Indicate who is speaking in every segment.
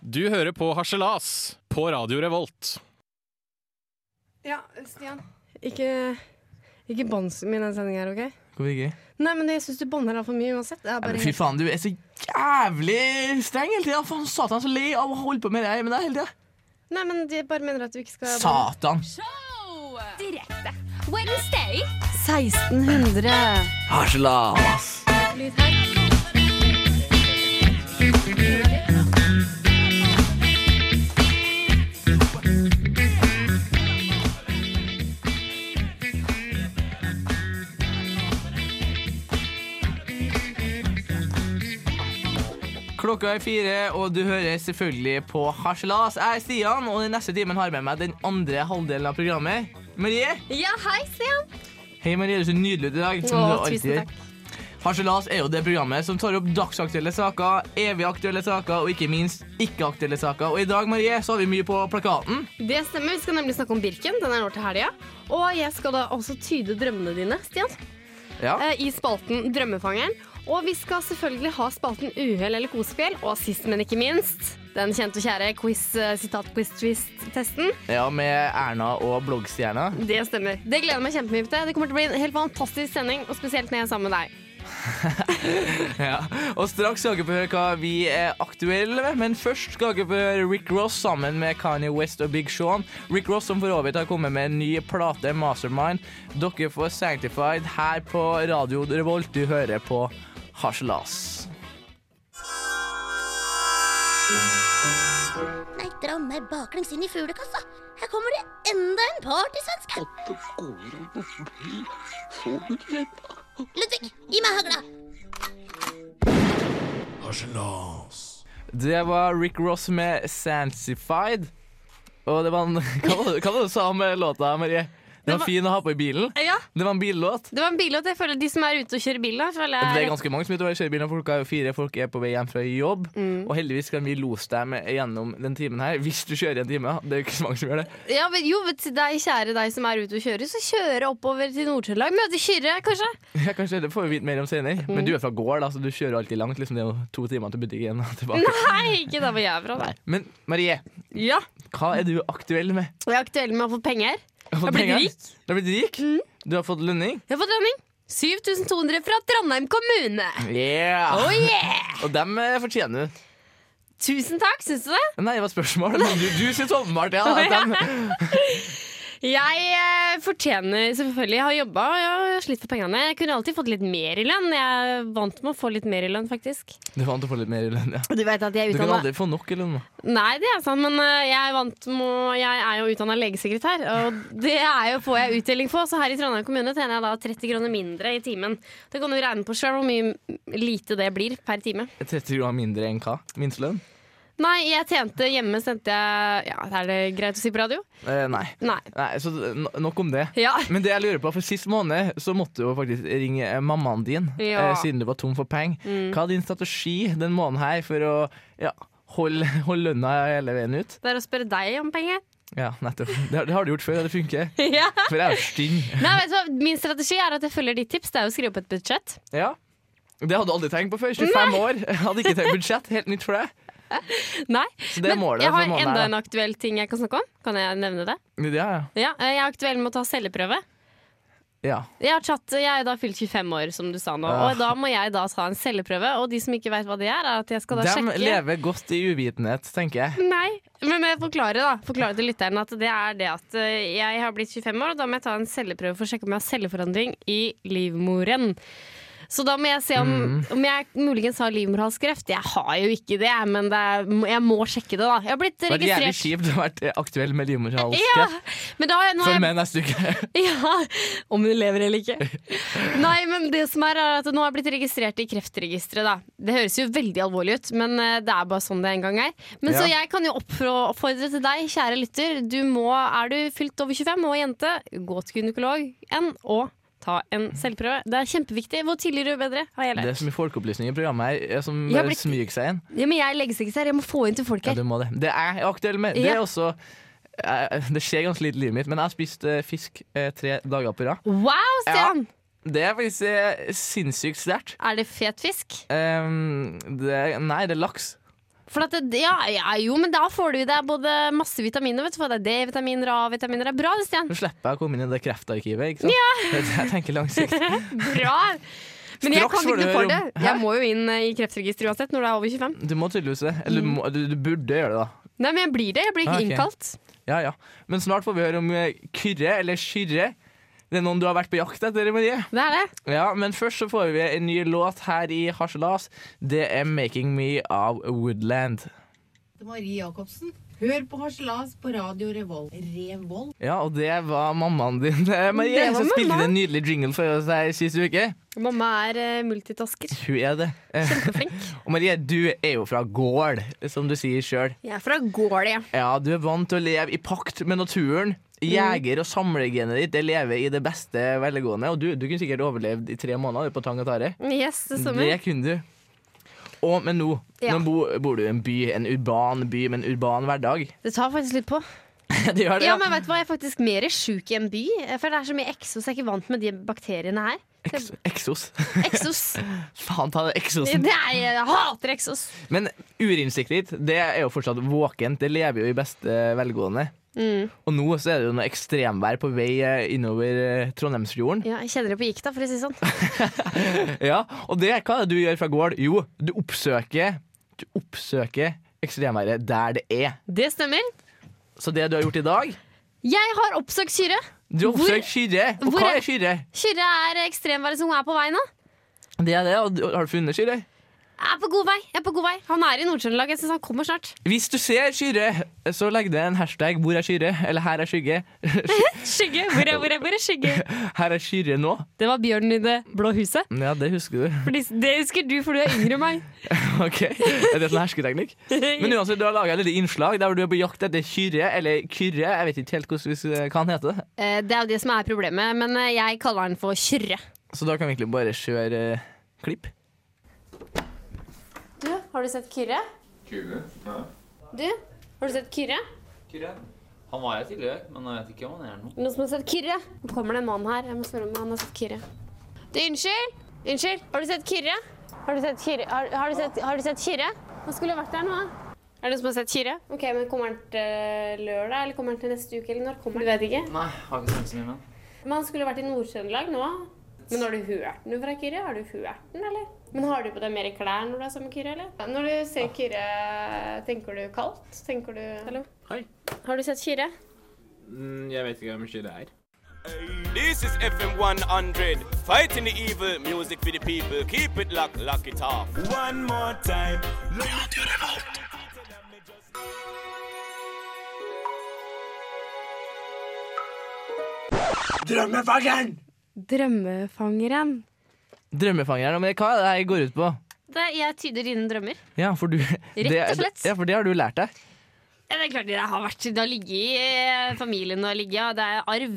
Speaker 1: Du hører på Harselas på Radio Revolt.
Speaker 2: Ja, Stian. Ikke, ikke bånd så mye i den sendingen her, OK?
Speaker 3: Hvorfor ikke?
Speaker 2: Nei, men jeg syns du bånder altfor mye uansett. Det er
Speaker 3: Nei,
Speaker 2: bare
Speaker 3: men fy faen, du er så jævlig streng hele tida! Faen, satan, så lei av å holde på med det med deg hele tida.
Speaker 2: Nei, men de bare mener at du ikke skal banne.
Speaker 3: Satan!
Speaker 4: Direkte. Wednesday.
Speaker 2: 1600.
Speaker 3: Harselas! Klokka er fire, og du hører selvfølgelig på Harselas. Jeg er Stian, og den neste timen har jeg med meg den andre halvdelen av programmet. Marie.
Speaker 4: Ja, hei, Stian.
Speaker 3: Hei, Marie. Du ser nydelig ut i dag. som
Speaker 2: Å,
Speaker 3: du alltid
Speaker 2: tusen
Speaker 3: gjør.
Speaker 2: takk.
Speaker 3: Harselas er jo det programmet som tar opp dagsaktuelle saker, evig aktuelle saker og ikke minst ikke-aktuelle saker. Og i dag, Marie, så har vi mye på plakaten.
Speaker 2: Det stemmer. Vi skal nemlig snakke om Birken. Den er nå til helga. Og jeg skal da også tyde drømmene dine, Stian,
Speaker 3: Ja.
Speaker 2: eh, i spalten Drømmefangeren. Og vi skal selvfølgelig ha spalten Uhell eller kosefjell. Og sist, men ikke minst, den kjente og kjære quiz, eh, sitat quiz twist-testen.
Speaker 3: ja, med Erna og bloggstjerna.
Speaker 2: Det stemmer. Det gleder jeg meg kjempemye til. Det kommer til å bli en helt fantastisk sending, og spesielt når jeg er sammen med deg.
Speaker 3: Ja. Og straks skal dere få høre hva vi er aktuelle med, men først skal dere få høre Rick Ross sammen med Kanye West og Big Sean. Rick Ross som for så vidt har kommet med en ny plate, Mastermind. Dere får Sanctified her på Radio Revolt. Du hører på Harselas.
Speaker 5: Nei, dra meg baklengs inn i fuglekassa. Her kommer det enda en partysvenske. Ludvig, gi meg hagla.
Speaker 3: Det var Rick Ross med Sanctified. Og det var en Hva var det- hva var det du sa om låta, Marie? Den var
Speaker 2: var-
Speaker 3: fin å ha på i bilen.
Speaker 2: Ja,
Speaker 3: Det var en billåt.
Speaker 2: det var en billåt. Jeg føler De som er ute og kjører bil, da, føler jeg
Speaker 3: Det er ganske mange som er ute og kjører bil når klokka er fire. Folk er på vei hjem fra jobb. Og heldigvis kan vi lose deg med gjennom den timen her, hvis du kjører en time. Det er jo ikke så mange som gjør det.
Speaker 2: Ja, men jo, vet du, deg, kjære deg som er ute og kjører, så kjøre oppover til Nord-Trøndelag. Møte Kyrre, kanskje.
Speaker 3: Ja, kanskje Det får vi vite mer om senere. Men du er fra gård, da, så du kjører alltid langt. Liksom, det er jo to timer til butikken og tilbake.
Speaker 2: Nei, ikke der hvor jeg er fra. Nei.
Speaker 3: Men Marie,
Speaker 2: Ja.
Speaker 3: hva er du aktuell med?
Speaker 2: Jeg er aktuell med å få penger.
Speaker 3: Du har fått
Speaker 2: Jeg blir
Speaker 3: penger.
Speaker 2: rik.
Speaker 3: Du har blitt Mm. rik? Du har fått lønning?
Speaker 2: Jeg har fått lønning. 7200 fra Trondheim kommune.
Speaker 3: Yeah!
Speaker 2: Oh yeah!
Speaker 3: Og dem eh, fortjener du.
Speaker 2: Tusen takk, syns du det?
Speaker 3: Nei, det var spørsmålet. Men du, du syns åpenbart ja, at dem
Speaker 2: Jeg eh, fortjener selvfølgelig Jeg har jobba og jeg har slitt for pengene. Jeg kunne alltid fått litt mer i lønn. Jeg er vant med å få litt mer i lønn, faktisk.
Speaker 3: Du vant å få litt mer i lønn, ja.
Speaker 2: Du vet at jeg er
Speaker 3: Du kan
Speaker 2: utdanna
Speaker 3: aldri få nok i lønn. da.
Speaker 2: Nei, det er sant, men eh, jeg er, vant med, å- jeg er jo utdanna legesekretær, og det er jo, får jeg utdeling på. Så her i Trondheim kommune tjener jeg da 30 kroner mindre i timen. Det kan du regne på sjøl hvor mye lite det blir per time.
Speaker 3: 30 kroner mindre enn hva? Minstelønn?
Speaker 2: Nei, jeg tjente hjemme, sendte jeg Ja, er det greit å si på radio?
Speaker 3: Eh, nei.
Speaker 2: Nei.
Speaker 3: Nei, så no- Nok om det.
Speaker 2: Ja.
Speaker 3: Men det jeg lurer på, for sist måned så måtte du jo faktisk ringe eh, mammaen din
Speaker 2: Ja. Mm.
Speaker 3: eh, siden du var tom for penger. Hva er din strategi den måneden her for å ja, holde, holde lønna hele veien ut?
Speaker 2: Det er å spørre deg om penger.
Speaker 3: Ja, nettopp. Det, har- det har du gjort før, og det funker.
Speaker 2: Ja.
Speaker 3: For jeg er jo stygg.
Speaker 2: Nei, vet du hva? Min strategi er at jeg følger ditt tips. Det er å skrive opp et budsjett.
Speaker 3: Ja. Det hadde du aldri tenkt på før. 25 år. Hadde ikke tenkt budsjett. Helt nytt for deg.
Speaker 2: Nei.
Speaker 3: Så det er målet
Speaker 2: jeg
Speaker 3: for
Speaker 2: har
Speaker 3: måneden
Speaker 2: enda
Speaker 3: her,
Speaker 2: en
Speaker 3: da.
Speaker 2: aktuell ting jeg kan snakke om. Kan jeg nevne det?
Speaker 3: Ja,
Speaker 2: Ja, eh, Jeg er aktuell med å ta celleprøve.
Speaker 3: ja.
Speaker 2: Jeg har tatt, jeg er da fylt 25 år, som du sa nå.
Speaker 3: Ah.
Speaker 2: Og da må jeg da ta en celleprøve. Og de som ikke vet hva det er, er at jeg skal da
Speaker 3: ja. De
Speaker 2: sjekke
Speaker 3: lever godt i uvitenhet, tenker jeg.
Speaker 2: Nei, men jeg forklarer da Forklarer til lytteren at det er det at eh, jeg har blitt 25 år, og da må jeg ta en celleprøve for å sjekke om jeg har celleforandring i livmoren. Så da må jeg se om,
Speaker 3: Mm.
Speaker 2: om jeg muligens har livmorhalskreft. Jeg har jo ikke det, men det er, jeg må sjekke det, da. Jeg har blitt
Speaker 3: Det har vært jævlig
Speaker 2: registrert.
Speaker 3: kjipt å ha vært aktuell med
Speaker 2: Ja,
Speaker 3: livmorhalskreft.
Speaker 2: men da, har jeg- nå har
Speaker 3: Følg
Speaker 2: jeg
Speaker 3: med neste uke.
Speaker 2: Ja, Om hun lever eller ikke. Nei, men det som er, er at nå har jeg blitt registrert i Kreftregisteret. da. Det høres jo veldig alvorlig ut, men eh, det er bare sånn det en gang er. Men så
Speaker 3: Ja.
Speaker 2: jeg kan jo oppfro- oppfordre til deg, kjære lytter. Du må, er du fylt over 25 og jente, gå til gynekologen og ta en selvprøve. Det er kjempeviktig. Hvor tidligere, jo bedre, har jeg
Speaker 3: Det er
Speaker 2: lært.
Speaker 3: så mye folkeopplysning i programmet her eh, som
Speaker 2: Jeg har
Speaker 3: bare
Speaker 2: blitt-
Speaker 3: smyger seg inn.
Speaker 2: Ja, men jeg legges ikke seg, jeg må få inn til folk
Speaker 3: Ja,
Speaker 2: her.
Speaker 3: du må det. Det er jeg aktuell med. Det
Speaker 2: Ja.
Speaker 3: er også eh, Det skjer ganske lite i livet mitt, men jeg har spist eh, fisk eh, tre dager på rad.
Speaker 2: Wow, Stian!
Speaker 3: Det er faktisk eh, sinnssykt sterkt.
Speaker 2: Er det fet fisk?
Speaker 3: Ehm, det, nei, det er laks.
Speaker 2: For at det, ja, ja, jo, men da får du i deg både masse vitaminer. Vet du, hva? det er D-vitaminer og A-vitaminer. Det er Bra, Stian.
Speaker 3: Nå slipper jeg å komme inn i det kreftarkivet, ikke sant? Det er det jeg tenker langsiktig.
Speaker 2: Bra! Men jeg
Speaker 3: Straks
Speaker 2: kan ikke
Speaker 3: får du
Speaker 2: noe
Speaker 3: høre
Speaker 2: for
Speaker 3: om-
Speaker 2: det.
Speaker 3: Hæ?
Speaker 2: Jeg må jo inn eh, i kreftregisteret uansett når du er over 25.
Speaker 3: Du må tydeligvis det. Eller du, må, du, du burde gjøre det, da.
Speaker 2: Nei, men jeg blir det. Jeg blir ikke
Speaker 3: Ah, ok.
Speaker 2: innkalt.
Speaker 3: Ja, ja. Men snart får vi høre om eh, Kyrre eller Kyrre. Det er noen du har vært på jakt etter, Marie.
Speaker 2: Det er det.
Speaker 3: Ja, Men først så får vi en ny låt her i Harselas. Det er 'Making Me' av Woodland.
Speaker 6: til Marie Jacobsen. Hør på Harselas på radio Revolt. Revolt.
Speaker 3: Ja, og det var mammaen din, eh, Marie,
Speaker 2: Det var
Speaker 3: som spilte
Speaker 2: mamma.
Speaker 3: en nydelig jingle for oss her sist uke.
Speaker 2: Mamma er eh, multitasker.
Speaker 3: Hun er det. Eh,
Speaker 2: Kjempeflink.
Speaker 3: Og Marie, du er jo fra gård, som du sier sjøl.
Speaker 2: Jeg er fra Gård, jeg.
Speaker 3: Ja, du er vant til å leve i pakt med naturen.
Speaker 2: Mm.
Speaker 3: Jeger- og samlergenet ditt det lever i det beste velgående. Og du, du kunne sikkert overlevd i tre måneder på tang og tare.
Speaker 2: Yes, det
Speaker 3: Det
Speaker 2: stemmer.
Speaker 3: kunne du. Og, men nå,
Speaker 2: Ja.
Speaker 3: nå bo, bor du i en by, en urban by med en urban hverdag.
Speaker 2: Det tar faktisk litt på.
Speaker 3: det gjør det,
Speaker 2: Ja, men vet du hva? Jeg er faktisk mer sjuk i en by. For det er så mye eksos. Jeg er ikke vant med de bakteriene her.
Speaker 3: Ex- Exos.
Speaker 2: Eksos.
Speaker 3: Faen ta det, exosen.
Speaker 2: Det er, jeg hater eksos.
Speaker 3: Men urinstinktet ditt det er jo fortsatt våkent. Det lever jo i beste velgående.
Speaker 2: Mm.
Speaker 3: Og nå så er det jo noe ekstremvær på vei eh, innover eh, Trondheimsfjorden.
Speaker 2: Ja, jeg kjenner det på gikta, for å si det sånn.
Speaker 3: Ja, og det, hva er det du gjør fra gård? Jo, du oppsøker Du oppsøker ekstremværet der det er.
Speaker 2: Det stemmer.
Speaker 3: Så det du har gjort i dag
Speaker 2: Jeg har oppsøkt Kyrre.
Speaker 3: Du har
Speaker 2: Hvor-
Speaker 3: oppsøkt Kyrre. Og
Speaker 2: hvor
Speaker 3: hva
Speaker 2: er-
Speaker 3: er Kyrre?
Speaker 2: Kyrre er ekstremværet som er på vei nå.
Speaker 3: Det er det, og Har du funnet Kyrre?
Speaker 2: Jeg er på god vei. jeg er på god vei Han er i Nord-Trøndelag. Jeg syns han kommer snart.
Speaker 3: Hvis du ser Kyrre, så legg deg en hashtag 'Hvor er Kyrre?' eller 'Her er skygge'.
Speaker 2: Skygge, hvor er, hvor er, hvor er skygge?
Speaker 3: Her er Kyrre nå.
Speaker 2: Det var bjørnen i det blå huset.
Speaker 3: Ja, det husker du.
Speaker 2: For de- det husker du, for du er yngre enn meg.
Speaker 3: Ok, Er det en hersketeknikk? Men uansett, du har laga et lite innslag der du er på jakt etter Kyrre, eller Kyrre, jeg vet ikke helt hvordan, hva han heter.
Speaker 2: Eh, Det er jo det som er problemet, men eh, jeg kaller han for Kyrre.
Speaker 3: Så da kan vi egentlig bare kjøre eh, klipp.
Speaker 2: Du, har du sett Kyrre? Du, har du sett Kyrre?
Speaker 7: Han var her tidligere, men jeg vet ikke om han er her nå.
Speaker 2: Noen som har sett Kyrre? Nå kommer det en mann her. Jeg må spørre om han har sett Kyrre. Du, unnskyld! Unnskyld, har du sett Kyrre? Har du sett Kyrre? Har, har, du, sett, har du sett Kyrre? Han skulle vært der nå. da. Er det noen som har sett Kyrre? Ok, men Kommer han til eh, lørdag, eller kommer han til neste uke, eller når kommer han? Du vet ikke.
Speaker 7: Nei, har ikke sansen min.
Speaker 2: Men han skulle vært i Nord-Trøndelag nå. Men har du hørt noe fra Kyrre? Har du hørt den, eller? Men har du på deg mer klær når du er sammen med Kyrre, eller? Når du ser Kyrre, tenker du kaldt? Tenker du Hallo?
Speaker 7: Hei.
Speaker 2: Har du sett Kyrre?
Speaker 7: Jeg vet ikke hvor mye det er.
Speaker 8: This is FM 100, fighting the evil, music for the people. Keep it locked, lock it off. One more time.
Speaker 2: Drømmefangeren.
Speaker 3: Drømmefangeren. Men hva er det her går ut på?
Speaker 2: Det, jeg tyder dine drømmer.
Speaker 3: Ja, for du,
Speaker 2: Rett og slett.
Speaker 3: Det, ja, for det har du lært deg.
Speaker 2: Ja, det er klart det har vært Det har ligget i eh, familien og ligget, og det er arv.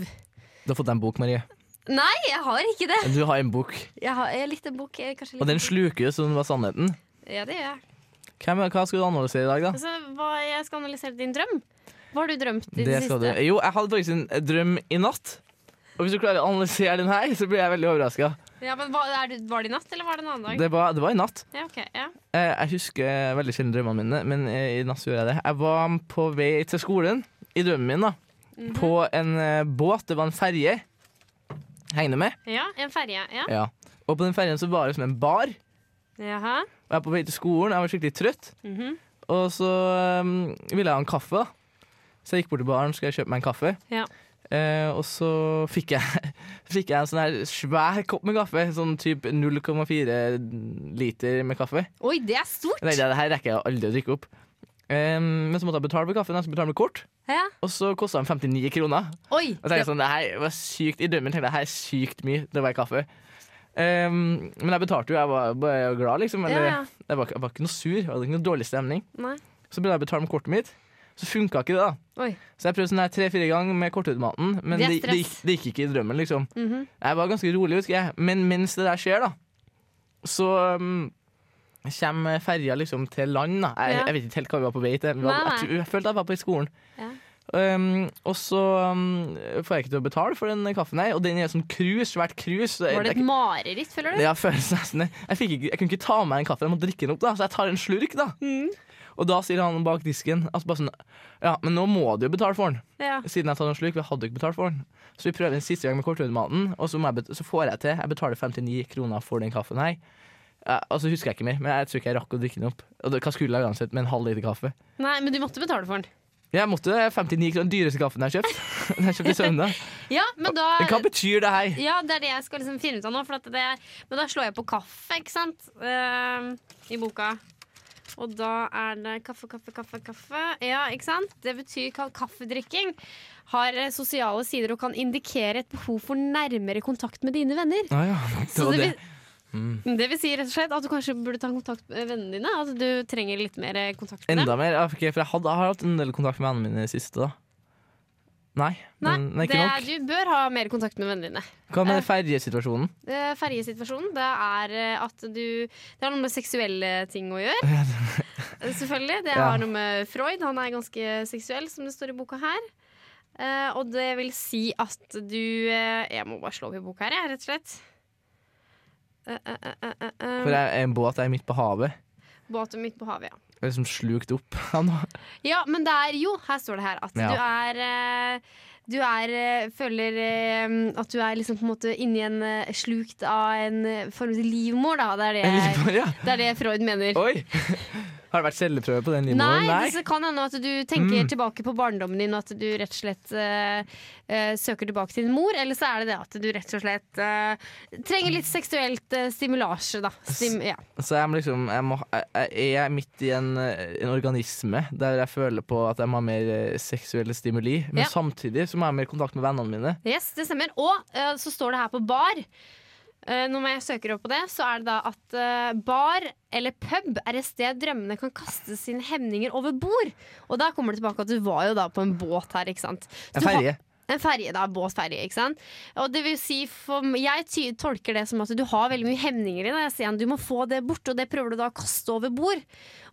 Speaker 3: Du har fått deg en bok, Marie.
Speaker 2: Nei, jeg har ikke det.
Speaker 3: Du har en bok,
Speaker 2: Jeg har jeg likte en bok. Jeg, kanskje
Speaker 3: og
Speaker 2: likte-
Speaker 3: den sluker jo som var sannheten.
Speaker 2: Ja, det gjør jeg.
Speaker 3: Hvem, hva skal du analysere i dag, da?
Speaker 2: Altså, hva, jeg skal analysere din drøm. Hva har du drømt i det,
Speaker 3: Det
Speaker 2: siste?
Speaker 3: skal du. Jo, jeg hadde faktisk en drøm i natt. Og hvis du klarer å analysere den her, så blir jeg veldig overraska.
Speaker 2: Ja, men hva, er, det- Var det i natt, eller var det en annen dag?
Speaker 3: Det, var- det var i natt.
Speaker 2: Ja, ok, ja.
Speaker 3: Eh, Jeg husker veldig sjelden drømmene mine, men eh, i natt så gjorde jeg det. Jeg var på vei til skolen, i drømmen min, da.
Speaker 2: Mhm.
Speaker 3: På en eh, båt. Det var en ferje. Henger du med?
Speaker 2: ja en ferje. Ja.
Speaker 3: Ja. Og på den ferjen så var det som en bar.
Speaker 2: Jaha.
Speaker 3: Og jeg er på vei til skolen, jeg var skikkelig trøtt. Og så um, ville jeg ha en kaffe, da. Så jeg gikk bort til baren skulle jeg kjøpe meg en kaffe.
Speaker 2: Ja.
Speaker 3: Eh, og så fikk jeg, fikk jeg en sånn her svær kopp med kaffe. Sånn type 0,4 liter med kaffe.
Speaker 2: Oi, det er stort!
Speaker 3: Jeg tenkte, det her rekker jeg aldri å drikke opp. Um, men så måtte jeg betale for kaffen. Jeg skulle betale med kort,
Speaker 2: Ja.
Speaker 3: og så kosta den 59 kroner.
Speaker 2: Oi!
Speaker 3: Og tenkte jeg sånn, det her var sykt I drømmen tenkte jeg det her er sykt mye til å være kaffe. Ehm, men jeg betalte jo, jeg var bare glad, liksom. Men
Speaker 2: Ja, ja.
Speaker 3: det- Jeg, var, ikke- jeg var ikke noe sur. Jeg hadde ikke noe dårlig stemning.
Speaker 2: Nei.
Speaker 3: Så begynte jeg å betale med kortet mitt. Så funka ikke det, da.
Speaker 2: Oi.
Speaker 3: Så jeg prøvde sånn her tre-fire ganger med kortautomaten, men
Speaker 2: Det er
Speaker 3: det, det, gikk,
Speaker 2: stress. Mhm.
Speaker 3: det gikk ikke i drømmen, liksom. Jeg var ganske rolig, husker jeg. Men mens det der skjer, da, så um, kommer ferja liksom til land, da. Jeg,
Speaker 2: Ja.
Speaker 3: jeg vet ikke helt hva vi var på vei til. men
Speaker 2: Nei,
Speaker 3: Jeg,
Speaker 2: nei.
Speaker 3: tror- jeg følte jeg var på skolen.
Speaker 2: Ja.
Speaker 3: Um, og så um, får jeg ikke til å betale for den kaffen her, og den er sånn krus, svært krus. så jeg-
Speaker 2: Var det et
Speaker 3: jeg-
Speaker 2: mareritt, føler du? Mhm.
Speaker 3: ja, føles nesten det. Jeg, fikk ikke, jeg kunne ikke ta med meg en kaffe, jeg måtte drikke den opp, da, så jeg tar en slurk. da Og da sier han bak disken at bare sånn Ja, men nå må du jo betale for den.
Speaker 2: Ja.
Speaker 3: Siden jeg tar noen slurk, vi hadde jo ikke betalt for den. Så vi prøver en siste gang med kortautomaten, og så, må jeg bet så får jeg til. Jeg betaler 59 kroner for den kaffen her. Eh, og så husker jeg ikke mer, men jeg tror ikke jeg rakk å drikke den opp. Og det, hva skulle jeg uansett med en halv liter kaffe?
Speaker 2: Nei, men du måtte betale for den.
Speaker 3: Jeg måtte det. 59 kroner, den dyreste kaffen jeg har kjøpt. Den jeg kjøpte i søndag.
Speaker 2: Ja, men da
Speaker 3: Men Hva betyr det her?
Speaker 2: ja, det er det jeg skal liksom finne ut av nå. For at det er, men da slår jeg på kaffe, ikke sant? Eh, I boka. Og da er det kaffe, kaffe, kaffe, kaffe. Ja, ikke sant? Det betyr ka- kaffedrikking har eh, sosiale sider og kan indikere et behov for nærmere kontakt med dine venner.
Speaker 3: Ah, ja. det Mm.
Speaker 2: Så
Speaker 3: var
Speaker 2: det,
Speaker 3: det.
Speaker 2: vil, det vil si rett og slett at du kanskje burde ta kontakt med vennene dine? At du trenger litt mer eh, kontakt med dem?
Speaker 3: Enda mer. ja, ok, for jeg, hadde, jeg har hatt en del kontakt med vennene mine i det siste. da Mm, Nei,
Speaker 2: Nei,
Speaker 3: men men
Speaker 2: det
Speaker 3: ikke
Speaker 2: er,
Speaker 3: nok.
Speaker 2: du bør ha mer kontakt med vennene dine.
Speaker 3: Hva med ferjesituasjonen?
Speaker 2: Eh, Ferjesituasjonen, det er eh, at du Det har noe med seksuelle ting å gjøre. Eh, Selvfølgelig. Det
Speaker 3: Ja.
Speaker 2: har noe med Freud. Han er ganske seksuell, som det står i boka her. Eh, og det vil si at du eh, Jeg må bare slå opp i boka her, jeg, rett og slett. Eh, eh, eh, eh, eh, eh,
Speaker 3: For jeg, en båt er midt på havet.
Speaker 2: Båten midt på havet, ja.
Speaker 3: Jeg er liksom slukt opp av noe.
Speaker 2: Ja, men det er jo, her står det her at
Speaker 3: Ja.
Speaker 2: du er eh, Du er, eh, føler eh, at du er liksom på en måte inni en eh, slukt av en eh, form for livmor, da. Det er
Speaker 3: En
Speaker 2: det,
Speaker 3: livmor, ja.
Speaker 2: det, er det Freud mener.
Speaker 3: Oi! Har det vært celleprøve på den
Speaker 2: Nei,
Speaker 3: livmoren?
Speaker 2: det så kan hende at du tenker tilbake på barndommen din, og at du rett og slett eh, eh, søker tilbake til din mor. Eller så er det det at du rett og slett eh, trenger litt seksuelt eh, stimulasje, da. Stim ja.
Speaker 3: Så jeg, må liksom, jeg, må, jeg, jeg er midt i en, eh, en organisme der jeg føler på at jeg må ha mer eh, seksuelle stimuli. Men
Speaker 2: Ja.
Speaker 3: samtidig så må jeg ha mer kontakt med vennene mine.
Speaker 2: Yes, det stemmer. Og eh, så står det her på bar. Eh, når jeg søker opp på det, så er det da at eh, bar eller pub er et sted drømmene kan kaste sine hemninger over bord. Og der kommer det tilbake at du var jo da på en båt her, ikke sant. Så
Speaker 3: En
Speaker 2: du har-
Speaker 3: ferje.
Speaker 2: En ferje, da. Båt ferje, ikke sant. Og det vil si, for, jeg ty tolker det som at du har veldig mye hemninger i deg. Jeg sier han, du må få det bort, og det prøver du da å kaste over bord.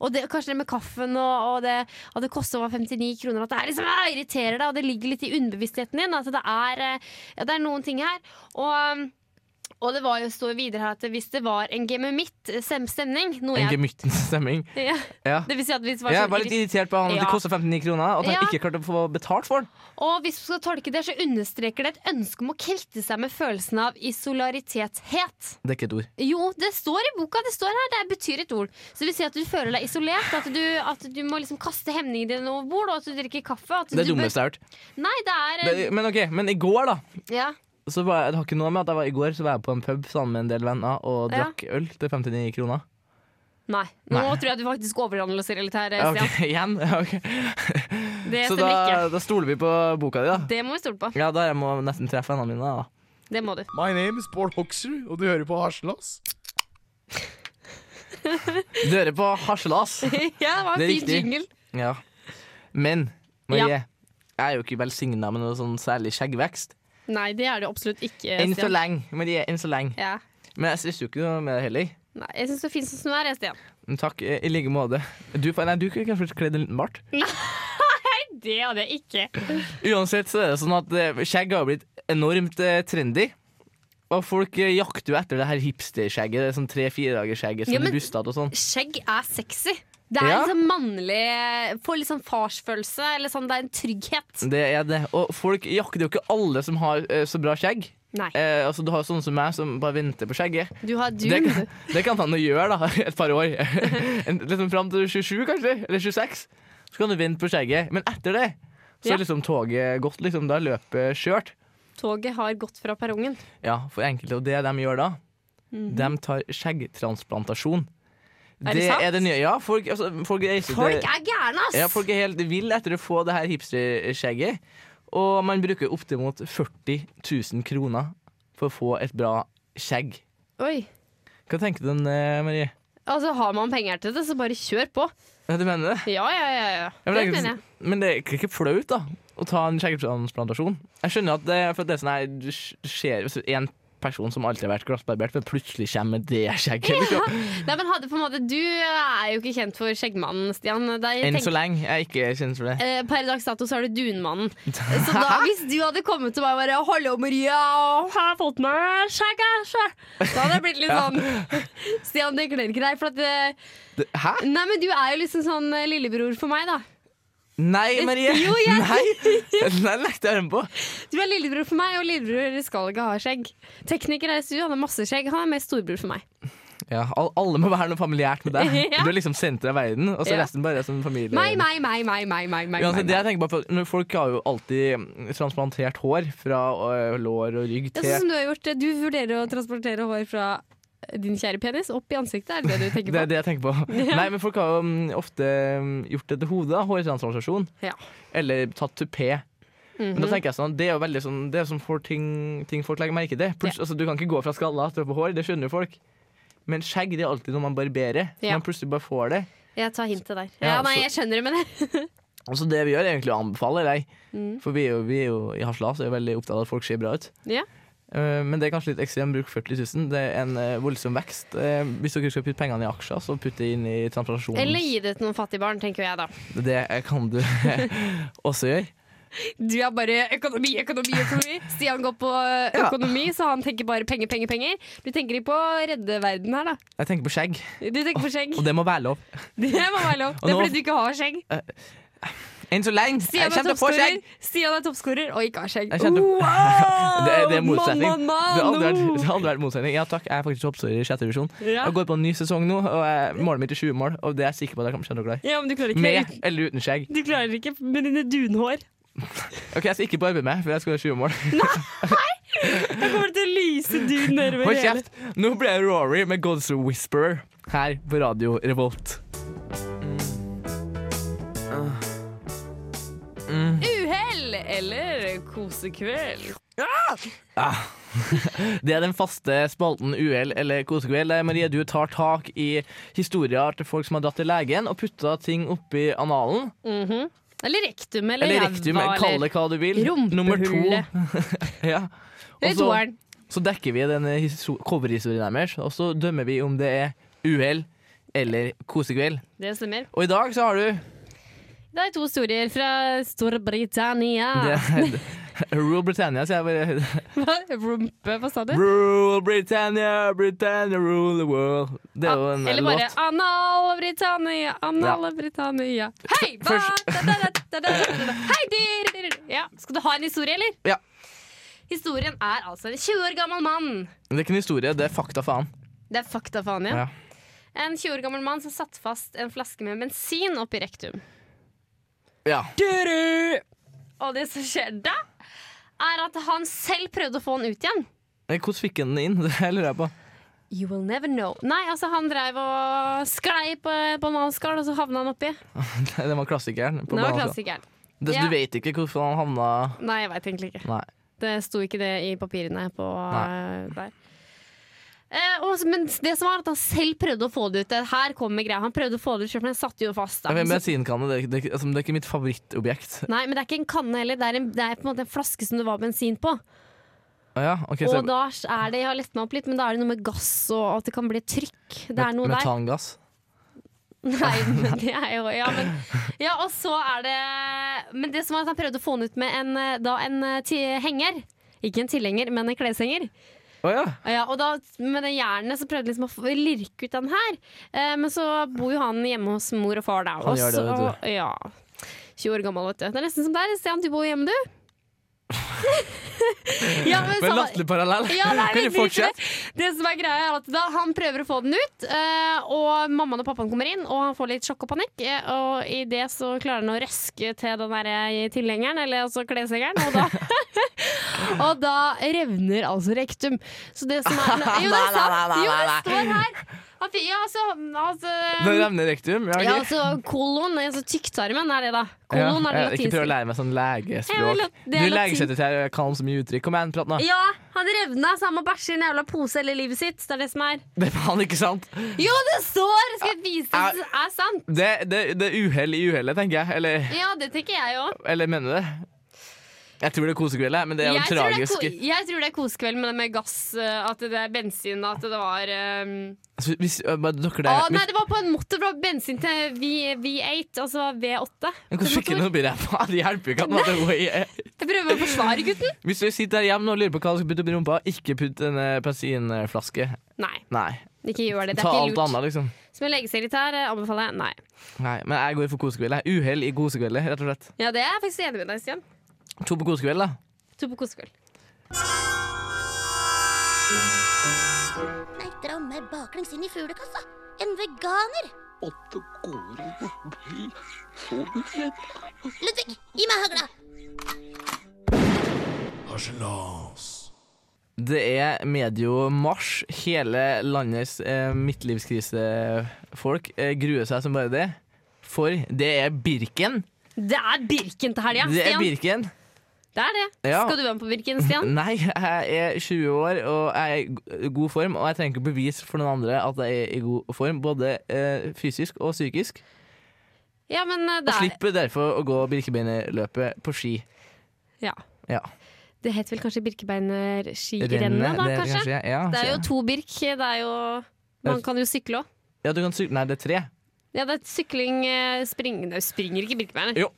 Speaker 2: Og det, kanskje det med kaffen og, og det at det koster over 59 kroner, at det er liksom, ah, irriterer deg, og det ligger litt i underbevisstheten din. At det er, eh, ja, det er noen ting her. Og, um, og det var jo står videre her at hvis det var en gememitt-stemning eh, noe
Speaker 3: En
Speaker 2: jeg-
Speaker 3: gemyttens stemming.
Speaker 2: ja,
Speaker 3: Ja.
Speaker 2: Det vil si at hvis det var
Speaker 3: Jeg
Speaker 2: sånn
Speaker 3: er bare litt
Speaker 2: irri-
Speaker 3: irritert på han at
Speaker 2: Ja.
Speaker 3: det koster 59 kroner, og at han
Speaker 2: Ja.
Speaker 3: ikke klarte å få betalt for den.
Speaker 2: Og hvis du skal tolke det, så understreker det et ønske om å kvitte seg med følelsen av isolaritethet.
Speaker 3: Det er ikke et ord.
Speaker 2: Jo, det står i boka. Det står her, det betyr et ord. Så det vil si at du føler deg isolert, at du, at du må liksom kaste hemningene dine over bord, og at du drikker kaffe. At
Speaker 3: Det er
Speaker 2: du bør-
Speaker 3: dummeste jeg har hørt.
Speaker 2: Nei, det er eh,
Speaker 3: Det- Men ok, men i går, da.
Speaker 2: ja.
Speaker 3: Så var jeg, det har ikke noe med at jeg var i går, så var jeg på en pub sammen med en del venner og
Speaker 2: Ja.
Speaker 3: drakk øl til 59 kroner.
Speaker 2: Nei. Nå tror jeg du faktisk overanalyserer litt her, eh,
Speaker 3: Ja, ok,
Speaker 2: Stian.
Speaker 3: Igjen? Ja, ok.
Speaker 2: Det
Speaker 3: Så
Speaker 2: stemmer
Speaker 3: da,
Speaker 2: ikke.
Speaker 3: da stoler vi på boka di, da.
Speaker 2: Det må vi stole på.
Speaker 3: Ja, da jeg må nesten treffe vennene mine, da.
Speaker 2: Det må du.
Speaker 9: My name is Bård Hoksrud, og du hører på Harselas.
Speaker 3: Du hører på Harselas.
Speaker 2: Ja, det var en
Speaker 3: Det er
Speaker 2: fin
Speaker 3: riktig.
Speaker 2: jingle.
Speaker 3: Ja. Men Marie,
Speaker 2: Ja.
Speaker 3: jeg er jo ikke velsigna med noe sånn særlig skjeggvekst.
Speaker 2: Nei, det er det absolutt ikke,
Speaker 3: Enn så
Speaker 2: Stian.
Speaker 3: lenge. Marie, enn så lenge.
Speaker 2: Ja.
Speaker 3: Men jeg stresser jo ikke noe med det heller.
Speaker 2: Nei, jeg syns du er fin som du er, jeg, Stian.
Speaker 3: Men Takk, eh, i like måte. Du, får- nei, du kunne kanskje kledd en liten bart?
Speaker 2: Det hadde jeg ikke.
Speaker 3: Uansett så er det sånn at eh, skjegg har blitt enormt eh, trendy. Og folk eh, jakter jo etter det her hipsterskjegget. Det er sånn tre-fire dagers skjegg som
Speaker 2: Ja,
Speaker 3: er
Speaker 2: men-
Speaker 3: bustet og sånn.
Speaker 2: Skjegg er sexy. Det er
Speaker 3: Ja.
Speaker 2: liksom mannlig Får litt sånn farsfølelse. Eller sånn, det er en trygghet.
Speaker 3: Det er det. Og folk jakter jo ikke alle som har eh, så bra skjegg.
Speaker 2: Nei.
Speaker 3: Eh, altså Du har jo sånne som meg som bare venter på skjegget.
Speaker 2: Du har du.
Speaker 3: Det kan, det kan han jo gjøre da, et par år. En- liksom Fram til 27, kanskje? Eller 26. Så kan du vente på skjegget. Men etter det så
Speaker 2: Ja.
Speaker 3: er liksom toget gått. liksom Da er løpet skjørt.
Speaker 2: Toget har gått fra perrongen.
Speaker 3: Ja, for enkelte. Og det de gjør da, de tar skjeggtransplantasjon.
Speaker 2: Mhm. Er det sant?
Speaker 3: Er det nye. Ja, folk, altså, folk reiser til-
Speaker 2: Folk er gærne, ass!
Speaker 3: ja, folk er helt ville etter å få det her hipsterskjegget. Og man bruker oppimot 40 000 kroner for å få et bra skjegg.
Speaker 2: Oi.
Speaker 3: Hva tenker du om det, Marie?
Speaker 2: Altså, har man penger til det, så bare kjør på.
Speaker 3: Ja, du mener det?
Speaker 2: Ja, ja, ja. ja.
Speaker 3: Ja,
Speaker 2: Det
Speaker 3: men, det
Speaker 2: mener
Speaker 3: er
Speaker 2: jeg.
Speaker 3: ikke, men det er ikke ikke flaut, da. Å ta en skjeggetransplantasjon. Jeg skjønner at det, for at det er sånn her, du sk- skjer hvis en person som alltid har vært glattbarbert, men plutselig kommer med det skjegget. Liksom.
Speaker 2: Nei, men hadde på en måte, Du er jo ikke kjent for Skjeggmannen, Stian. Da jeg
Speaker 3: Enn
Speaker 2: tenker-
Speaker 3: så lenge. Jeg er ikke kjent for det.
Speaker 2: Eh, Per dags dato så er du Dunmannen. Så da, hvis du hadde kommet til meg og bare 'Hallo, Maria, og har jeg fått meg skjegg?' her, skjegg?» Da hadde jeg blitt litt sånn Stian, det kler ikke deg. For at, eh,
Speaker 3: Det- Hæ?
Speaker 2: nei, men du er jo liksom sånn eh, lillebror for meg, da.
Speaker 3: Nei, Marie!
Speaker 2: Jo, jeg-
Speaker 3: Eh, Nei, den nekter jeg å høre på.
Speaker 2: Du er lillebror for meg, og lillebror skal ikke ha skjegg. Tekniker her i studio, han har masse skjegg. Han er mer storbror for meg.
Speaker 3: Ja, al- alle må være noe familiært med deg.
Speaker 2: Ja.
Speaker 3: Du er liksom senteret av verden, og så
Speaker 2: Ja.
Speaker 3: er resten bare som familie.
Speaker 2: Meg, meg, meg, meg, meg. meg, meg,
Speaker 3: Uansett,
Speaker 2: meg, meg.
Speaker 3: det jeg tenker på, for når Folk har jo alltid mm, transplantert hår fra ø, lår og rygg
Speaker 2: Ja,
Speaker 3: til
Speaker 2: Sånn som du har gjort. eh, Du vurderer å transportere hår fra din kjære penis opp i ansiktet, er det det du tenker
Speaker 3: Det er
Speaker 2: på?
Speaker 3: det jeg tenker på. Nei, men folk har jo mm, ofte mm, gjort det til hodet. da, Hårtransplantasjon.
Speaker 2: Ja. Mhm.
Speaker 3: Eller tatt tupé. Men da tenker jeg sånn, det er jo veldig sånn Det er sånn for ting, ting folk legger merke til. Plutselig- altså, du kan ikke gå fra skalla til på hår, det skjønner jo folk. Men skjegg det er alltid noe man barberer. Så
Speaker 2: Ja.
Speaker 3: man plutselig bare får det.
Speaker 2: Jeg tar hintet der.
Speaker 3: Ja,
Speaker 2: Ja, nei,
Speaker 3: så-
Speaker 2: jeg skjønner det, men
Speaker 3: Og så Altså, det vi gjør, er egentlig å anbefale deg.
Speaker 2: Mm.
Speaker 3: For vi er jo, vi er jo i Haslas er jo veldig opptatt av at folk ser bra ut.
Speaker 2: Ja.
Speaker 3: Eh, Men det er kanskje litt ekstrem bruk 40 000. Det er en eh, voldsom vekst. Eh, Hvis dere skal putte pengene i aksjer, så putt det inn i transplantasjonen.
Speaker 2: Eller gi det til noen fattige barn, tenker jeg da.
Speaker 3: Det kan du også gjøre.
Speaker 2: Du er bare økonomi, økonomi, økonomi. Stian går på
Speaker 3: Ja.
Speaker 2: økonomi, så han tenker bare penger, penger, penger. Du tenker ikke på å redde verden her, da.
Speaker 3: Jeg tenker på skjegg,
Speaker 2: Du tenker på skjegg.
Speaker 3: og det må være lov.
Speaker 2: Det må være lov. Det er
Speaker 3: nå-
Speaker 2: fordi du ikke har skjegg.
Speaker 3: Enn så lenge! Jeg
Speaker 2: Stian er
Speaker 3: kommer til å få
Speaker 2: toppskårer
Speaker 3: skjegg!
Speaker 2: Stian er toppskårer og ikke har skjegg.
Speaker 3: Jeg kjente-
Speaker 2: Wow!
Speaker 3: Det er, det er motsetning.
Speaker 2: Mamma, mamma,
Speaker 3: det, har aldri vært,
Speaker 2: no!
Speaker 3: det har aldri vært motsetning. Ja takk, jeg er faktisk toppskårer i sjette divisjon.
Speaker 2: Ja.
Speaker 3: Jeg går på en ny sesong nå, og jeg, målet mitt er 20 mål. Og det er jeg sikker på at jeg kommer til å klare.
Speaker 2: Ja, men du klarer ikke det
Speaker 3: Med
Speaker 2: uten-
Speaker 3: eller uten skjegg.
Speaker 2: Du klarer ikke med dine dunhår.
Speaker 3: Ok, Jeg skal ikke barbe meg, for jeg skal ha 20 mål.
Speaker 2: Da kommer det til å lyse dun nedover
Speaker 3: Hold kjeft! Nå ble jeg Rory med God's Whisperer her på Radio Revolt.
Speaker 2: Uhell eller kosekveld.
Speaker 3: Det er den faste spalten UL eller kosekveld der Marie du tar tak i historier til folk som har dratt til legen og putta ting oppi analen.
Speaker 2: Mhm. Eller rektum eller,
Speaker 3: Eller rektum,
Speaker 2: jævla,
Speaker 3: kall det hva du vil. Nummer to.
Speaker 2: Rumpehullet.
Speaker 3: ja.
Speaker 2: Eller
Speaker 3: Og så-
Speaker 2: toeren.
Speaker 3: Så dekker vi den histo- coverhistorien deres, og så dømmer vi om det er uhell eller kosekveld.
Speaker 2: Det stemmer.
Speaker 3: Og i dag så har du
Speaker 2: Det er to historier fra Storbritannia.
Speaker 3: det, Rule Britannia, sier jeg bare.
Speaker 2: Ah. Hva? Rumpe, hva sa du?
Speaker 3: Rule Britannia, Britannia rule the world. Det er jo en
Speaker 2: Ah, Eller bare
Speaker 3: låt.
Speaker 2: Anal Britannia, Anal Britannia. Hei! hva?
Speaker 3: først-
Speaker 2: Da, da, da, da, da, da, da. Hei, dir, dir, dir. Ja. Skal du ha en historie, eller?
Speaker 3: Ja.
Speaker 2: Historien er altså en 20 år gammel mann.
Speaker 3: Det er ikke en historie, det er fakta, faen.
Speaker 2: Det er fakta, faen, ja.
Speaker 3: Ja.
Speaker 2: En 20 år gammel mann som satt fast en flaske med bensin oppi rektum.
Speaker 3: Ja.
Speaker 2: Og det som skjer da, er at han selv prøvde å få den ut igjen.
Speaker 3: Men Hvordan fikk han den inn? Det lurer jeg på.
Speaker 2: You will never know. Nei, altså han dreiv og sklei på en bananskall, og så havna han oppi.
Speaker 3: Den var klassikeren. På
Speaker 2: Det var
Speaker 3: banen. altså.
Speaker 2: klassikeren.
Speaker 3: Det,
Speaker 2: Ja.
Speaker 3: Du vet ikke hvorfor han havna
Speaker 2: Nei, jeg veit egentlig ikke.
Speaker 3: Nei.
Speaker 2: Det sto ikke det i papirene på eh, der. Eh, og, men det som var at han selv prøvde å få det ut. Det her kommer greia. Han prøvde å få det ut selv, men den satt jo fast. Da.
Speaker 3: Jeg vet,
Speaker 2: Så-
Speaker 3: Bensinkanne det, er ikke- det, er ikke- altså, det er ikke mitt favorittobjekt.
Speaker 2: nei, men det er ikke en kanne heller. Det er, en, det er på en måte en flaske som det var bensin på.
Speaker 3: Å Ja, ok, så,
Speaker 2: Og da er det, jeg har lett meg opp litt, men da er det noe med gass og at det kan bli trykk. Det er noe der.
Speaker 3: metangass.
Speaker 2: Nei, men det er jo ja, men, ja, og så er det Men det som var at han prøvde å få den ut med en, eh, da, en eh, ti- henger. Ikke en tilhenger, men en kleshenger.
Speaker 3: Å ja.
Speaker 2: Ja, og da, med det jernet så prøvde jeg liksom å få- lirke ut den her. Eh, men så bor jo han hjemme hos mor og far, da.
Speaker 3: Han
Speaker 2: og
Speaker 3: gjør det,
Speaker 2: så-
Speaker 3: vet
Speaker 2: Ja. 20 år gammel, vet du. Det er nesten som deg, Stian. Du bor jo hjemme, du. ja, men
Speaker 3: Men
Speaker 2: så-
Speaker 3: latterlig parallell.
Speaker 2: ja, nei,
Speaker 3: kan du
Speaker 2: men drit i
Speaker 3: fortsette?
Speaker 2: Det. det som er greia er at da Han prøver å få den ut, eh, og mammaen og pappaen kommer inn, og han får litt sjokk og panikk. eh, Og i det så klarer han å røske til den der tilhengeren, eller altså kleshengeren, og da Og da revner altså rektum. Så det som er Jo, det er sant! Jo, det står her! Han fikk- Ja, altså,
Speaker 3: Den
Speaker 2: altså
Speaker 3: revner rektum? Ja, ok.
Speaker 2: ja, altså kolon, altså tykktarmen er det, da.
Speaker 3: Ja,
Speaker 2: Kolon er det
Speaker 3: ja, ikke prøv å
Speaker 2: latinske.
Speaker 3: lære meg sånn
Speaker 2: Jeg vil
Speaker 3: legespråk.
Speaker 2: at- det
Speaker 3: Du
Speaker 2: er
Speaker 3: er
Speaker 2: latin.
Speaker 3: legesekretær, jeg kan så mye uttrykk. Kom igjen, prat nå.
Speaker 2: Ja, han revna, så han må bæsje i en jævla pose hele livet sitt. Det er det som er.
Speaker 3: Det er faen ikke sant.
Speaker 2: Jo, det står! Skal jeg vise deg at det er sant?
Speaker 3: Det, det, det er uhell i uhellet, tenker jeg. Eller,
Speaker 2: Ja, det tenker jeg òg.
Speaker 3: eller mener du det? Jeg tror det er kosekveld, jeg, men det er jo
Speaker 2: jeg, tror det er
Speaker 3: tragisk.
Speaker 2: ko- jeg tror det er kosekveld med, med gass, eh, at det er bensin, at det var eh,
Speaker 3: Altså, hvis, øh, bare dere der,
Speaker 2: Å
Speaker 3: hvis,
Speaker 2: nei, det var på en måte fra bensin til v, V8, altså V8.
Speaker 3: Men Hvordan fikk jeg noe ræva? Det hjelper jo ikke at man hadde way
Speaker 2: Jeg prøver å forsvare gutten.
Speaker 3: Hvis du sitter der hjemme og lurer på hva du skal putte oppi rumpa, ikke putt en eh, bensinflaske.
Speaker 2: Nei,
Speaker 3: Nei.
Speaker 2: ikke gjør det. Det
Speaker 3: Ta
Speaker 2: er
Speaker 3: alt
Speaker 2: ikke lurt.
Speaker 3: annet, liksom.
Speaker 2: Som en legeserie her, eh, anbefaler jeg nei.
Speaker 3: Nei, Men jeg går for kosekveld. jeg. Uhell i kosekveld, rett og slett.
Speaker 2: Ja, det er jeg faktisk enig med deg, Stian.
Speaker 3: To på kosekveld, da.
Speaker 2: To på kosekveld.
Speaker 5: Nei, dra meg baklengs inn i fuglekassa. En veganer. Ludvig, gi meg hagla.
Speaker 3: Det er medio mars. Hele landets eh, midtlivskrisefolk eh, gruer seg som bare det. For det er Birken.
Speaker 2: Det er Birken til helga,
Speaker 3: Det er
Speaker 2: Stian.
Speaker 3: Birken.
Speaker 2: Det er det.
Speaker 3: Ja.
Speaker 2: Skal du være med på Birken, Stian?
Speaker 3: Nei, jeg er 20 år og jeg er i go- god form, og jeg trenger ikke bevise for noen andre at jeg er i god form, både eh, fysisk og psykisk.
Speaker 2: Ja, men eh,
Speaker 3: Og
Speaker 2: det er
Speaker 3: slipper derfor å gå Birkebeinerløpet på ski.
Speaker 2: ja.
Speaker 3: Ja.
Speaker 2: Det het vel kanskje Birkebeinerskirennet,
Speaker 3: Rennet,
Speaker 2: da,
Speaker 3: det er
Speaker 2: kanskje?
Speaker 3: kanskje- ja,
Speaker 2: Det er jo
Speaker 3: kanskje.
Speaker 2: to Birk. Det er jo Man kan jo sykle òg.
Speaker 3: ja, du kan sykle Nei, det er tre.
Speaker 2: Ja, det er sykling eh, spring... Nei, springer ikke Birkebeiner.
Speaker 3: Jo.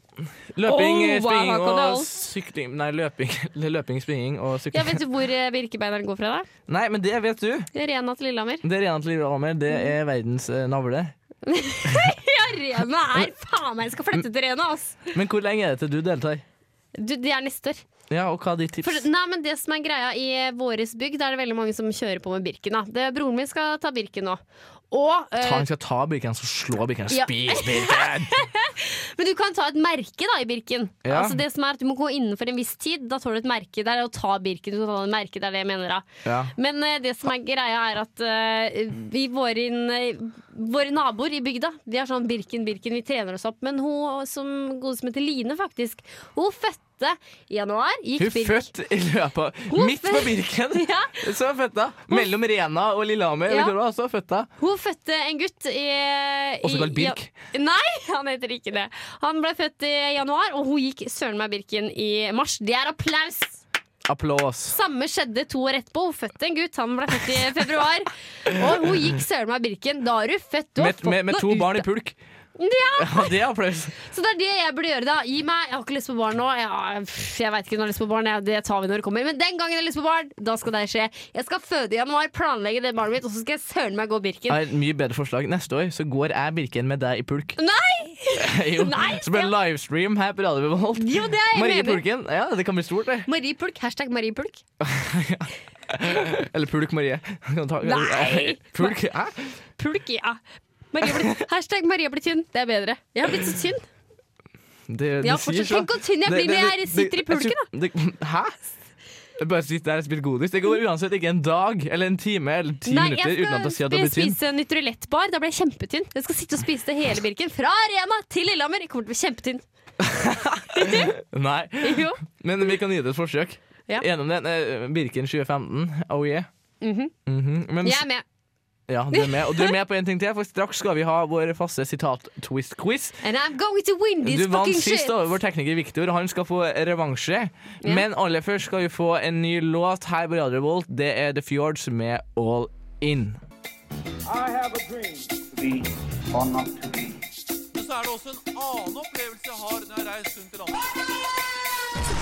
Speaker 3: Løping,
Speaker 2: Oh, wow,
Speaker 3: springing
Speaker 2: her kan det
Speaker 3: og
Speaker 2: alt.
Speaker 3: sykling Nei, løping, løping springing og
Speaker 2: Ja,
Speaker 3: sykling.
Speaker 2: vet du hvor eh, Birkebeineren går fra, da?
Speaker 3: Nei, men det vet du.
Speaker 2: Rena til Lillehammer.
Speaker 3: Det er Rena til Lillehammer. Det
Speaker 2: Mm.
Speaker 3: er verdens eh, navle.
Speaker 2: Ja, Rena er faen meg! Jeg skal flytte til Rena, ass!
Speaker 3: Men hvor lenge er det til du deltar?
Speaker 2: Du, det er neste år.
Speaker 3: Ja, og hva er ditt tips?
Speaker 2: For, det- nei, men det som er greia i eh, våres bygd, er det veldig mange som kjører på med Birken. Da. Det, broren min skal ta Birken nå. Og, eh,
Speaker 3: Ta, han skal ta Birken, så slå Birken.
Speaker 2: Ja.
Speaker 3: Spis Birken!
Speaker 2: men du kan ta et merke da i Birken.
Speaker 3: Ja.
Speaker 2: Altså det som er at Du må gå innenfor en viss tid. Da tar du et merke. Det er å ta Birken. Du kan ta et merke, det er det jeg mener da.
Speaker 3: Ja.
Speaker 2: Men eh, det som er greia, er at eh, vi, våre, eh, våre naboer i bygda De er sånn Birken, Birken, vi trener oss opp. Men hun som gode som heter Line, faktisk, hun fødte i januar. Gikk
Speaker 3: Hun
Speaker 2: Birk.
Speaker 3: født i løpet av
Speaker 2: Hun
Speaker 3: Midt på
Speaker 2: født-
Speaker 3: Birken!
Speaker 2: Ja.
Speaker 3: Så er hun født da. Mellom Rena og Lillehammer.
Speaker 2: Ja.
Speaker 3: Vet du hva? Så er hun født da.
Speaker 2: Hun fødte en gutt i
Speaker 3: Også
Speaker 2: i-
Speaker 3: kalt Birk.
Speaker 2: Ja, nei, han heter ikke det. Han ble født i januar, og hun gikk søren meg Birken i mars. Det er applaus!
Speaker 3: Applaus.
Speaker 2: Samme skjedde to år etterpå. Hun fødte en gutt, han ble født i februar. Og hun gikk søren meg Birken. Da har du født. Du har
Speaker 3: Med,
Speaker 2: fått
Speaker 3: med, med
Speaker 2: noe
Speaker 3: to
Speaker 2: ut
Speaker 3: barn
Speaker 2: av-
Speaker 3: i pulk.
Speaker 2: Ja,
Speaker 3: Ja, det er applaus.
Speaker 2: så det er det jeg burde gjøre, da. Gi meg Jeg har ikke lyst på barn nå. Ja, pff, jeg veit ikke når jeg har lyst på barn, jeg, det tar vi når det kommer. Men den gangen jeg har lyst på barn, da skal det skje. Jeg skal føde i januar, planlegge det barnet mitt, og så skal jeg søren meg gå Birken.
Speaker 3: Jeg har et mye bedre forslag. Neste år så går jeg Birken med deg i pulk.
Speaker 2: Nei!
Speaker 3: Jo.
Speaker 2: Nei,
Speaker 3: så blir det livestream her på Radio Revolt.
Speaker 2: Jo, det er jeg
Speaker 3: Marie
Speaker 2: med.
Speaker 3: Pulken. Ja, det kan bli stort, det.
Speaker 2: Marie Pulk, hashtag Marie Pulk.
Speaker 3: Eller Pulk Marie. Kan ta-
Speaker 2: Nei.
Speaker 3: Pulk, hæ?
Speaker 2: Pulk, ja. Marie ble, hashtag Maria blir tynn. Det er bedre. Jeg har blitt så tynn.
Speaker 3: Det,
Speaker 2: Ja,
Speaker 3: det sier
Speaker 2: fortsatt.
Speaker 3: så-
Speaker 2: Tenk hvor tynn jeg
Speaker 3: Det-
Speaker 2: blir når
Speaker 3: det-
Speaker 2: jeg
Speaker 3: det-
Speaker 2: sitter i
Speaker 3: jeg tror- det- Hæ? Jeg bare sitter der og spiser godis. Det går uansett ikke en dag eller en time eller ti minutter
Speaker 2: jeg
Speaker 3: uten at jeg sier at
Speaker 2: skal
Speaker 3: jeg blir tynn.
Speaker 2: spise Nutrilettbar. Da blir jeg kjempetynn. Jeg skal sitte og spise det hele Birken. Fra Arena til Lillehammer. Jeg kommer til å bli kjempetynn.
Speaker 3: Nei,
Speaker 2: Jo.
Speaker 3: men vi kan gi det et forsøk.
Speaker 2: Ja.
Speaker 3: Gjennom den eh, Birken 2015. Oh yeah.
Speaker 2: Mhm.
Speaker 3: Mhm. Men,
Speaker 2: Jeg er med.
Speaker 3: ja, du er med. Og du er med på en ting til, for straks skal vi ha vår faste sitat-twist-quiz.
Speaker 2: And I'm going to win this
Speaker 3: Du vant
Speaker 2: fucking
Speaker 3: sist
Speaker 2: shit.
Speaker 3: over vår tekniker Viktor. Han skal få revansje. Men aller først skal vi få en ny låt her på Radio Revolt. Det er The Fjords med All In.
Speaker 8: Men så er det også en annen opplevelse jeg har når jeg har reist rundt i landet.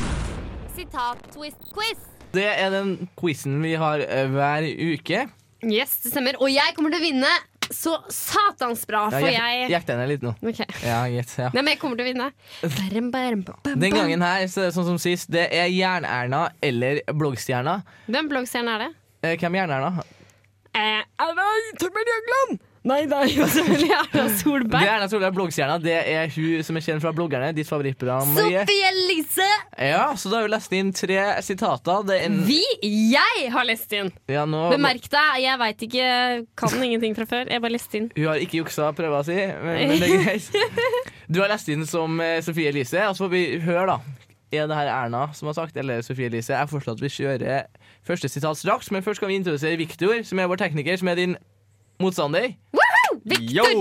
Speaker 4: Sitat-twist-quiz.
Speaker 3: Det er den quizen vi har eh, hver uke.
Speaker 2: Yes, det stemmer. Og jeg kommer til å vinne så satans bra, for jeg
Speaker 3: Gjett den litt nå.
Speaker 2: Ok.
Speaker 3: Ja, gjett, ja.
Speaker 2: Nei, men jeg kommer til å vinne. Bam, bam, bam, bam.
Speaker 3: Den gangen her, så er det sånn som sist, det er Jern-Erna eller Bloggstjerna.
Speaker 2: Hvem bloggstjerne er det?
Speaker 3: Eh, Hvem er Jern-Erna?
Speaker 2: Eh, Erna Torbjørn Jagland! Nei, nei, selvfølgelig Erna
Speaker 3: Det er
Speaker 2: Solberg.
Speaker 3: Erna Solberg, Bloggstjerna. Det er hun som er kjent fra bloggerne. Ditt favorittprogram, Marie.
Speaker 2: Sophie Elise!
Speaker 3: Ja, så da har vi lest inn tre sitater. Det er en...
Speaker 2: Vi, jeg har lest inn.
Speaker 3: Ja, nå...
Speaker 2: Bemerk deg, jeg veit ikke, kan ingenting fra før. Jeg bare leste inn.
Speaker 3: Hun har ikke juksa prøva si, men, men det er greit. Du har lest inn som eh, Sofie Elise, og så får vi høre, da. Er det her Erna som har sagt, eller Sofie Elise? Jeg foreslår at vi kjører første sitat straks, men først skal vi introdusere Viktor, som er vår tekniker, som er din motstander.
Speaker 2: Victor
Speaker 10: Yo!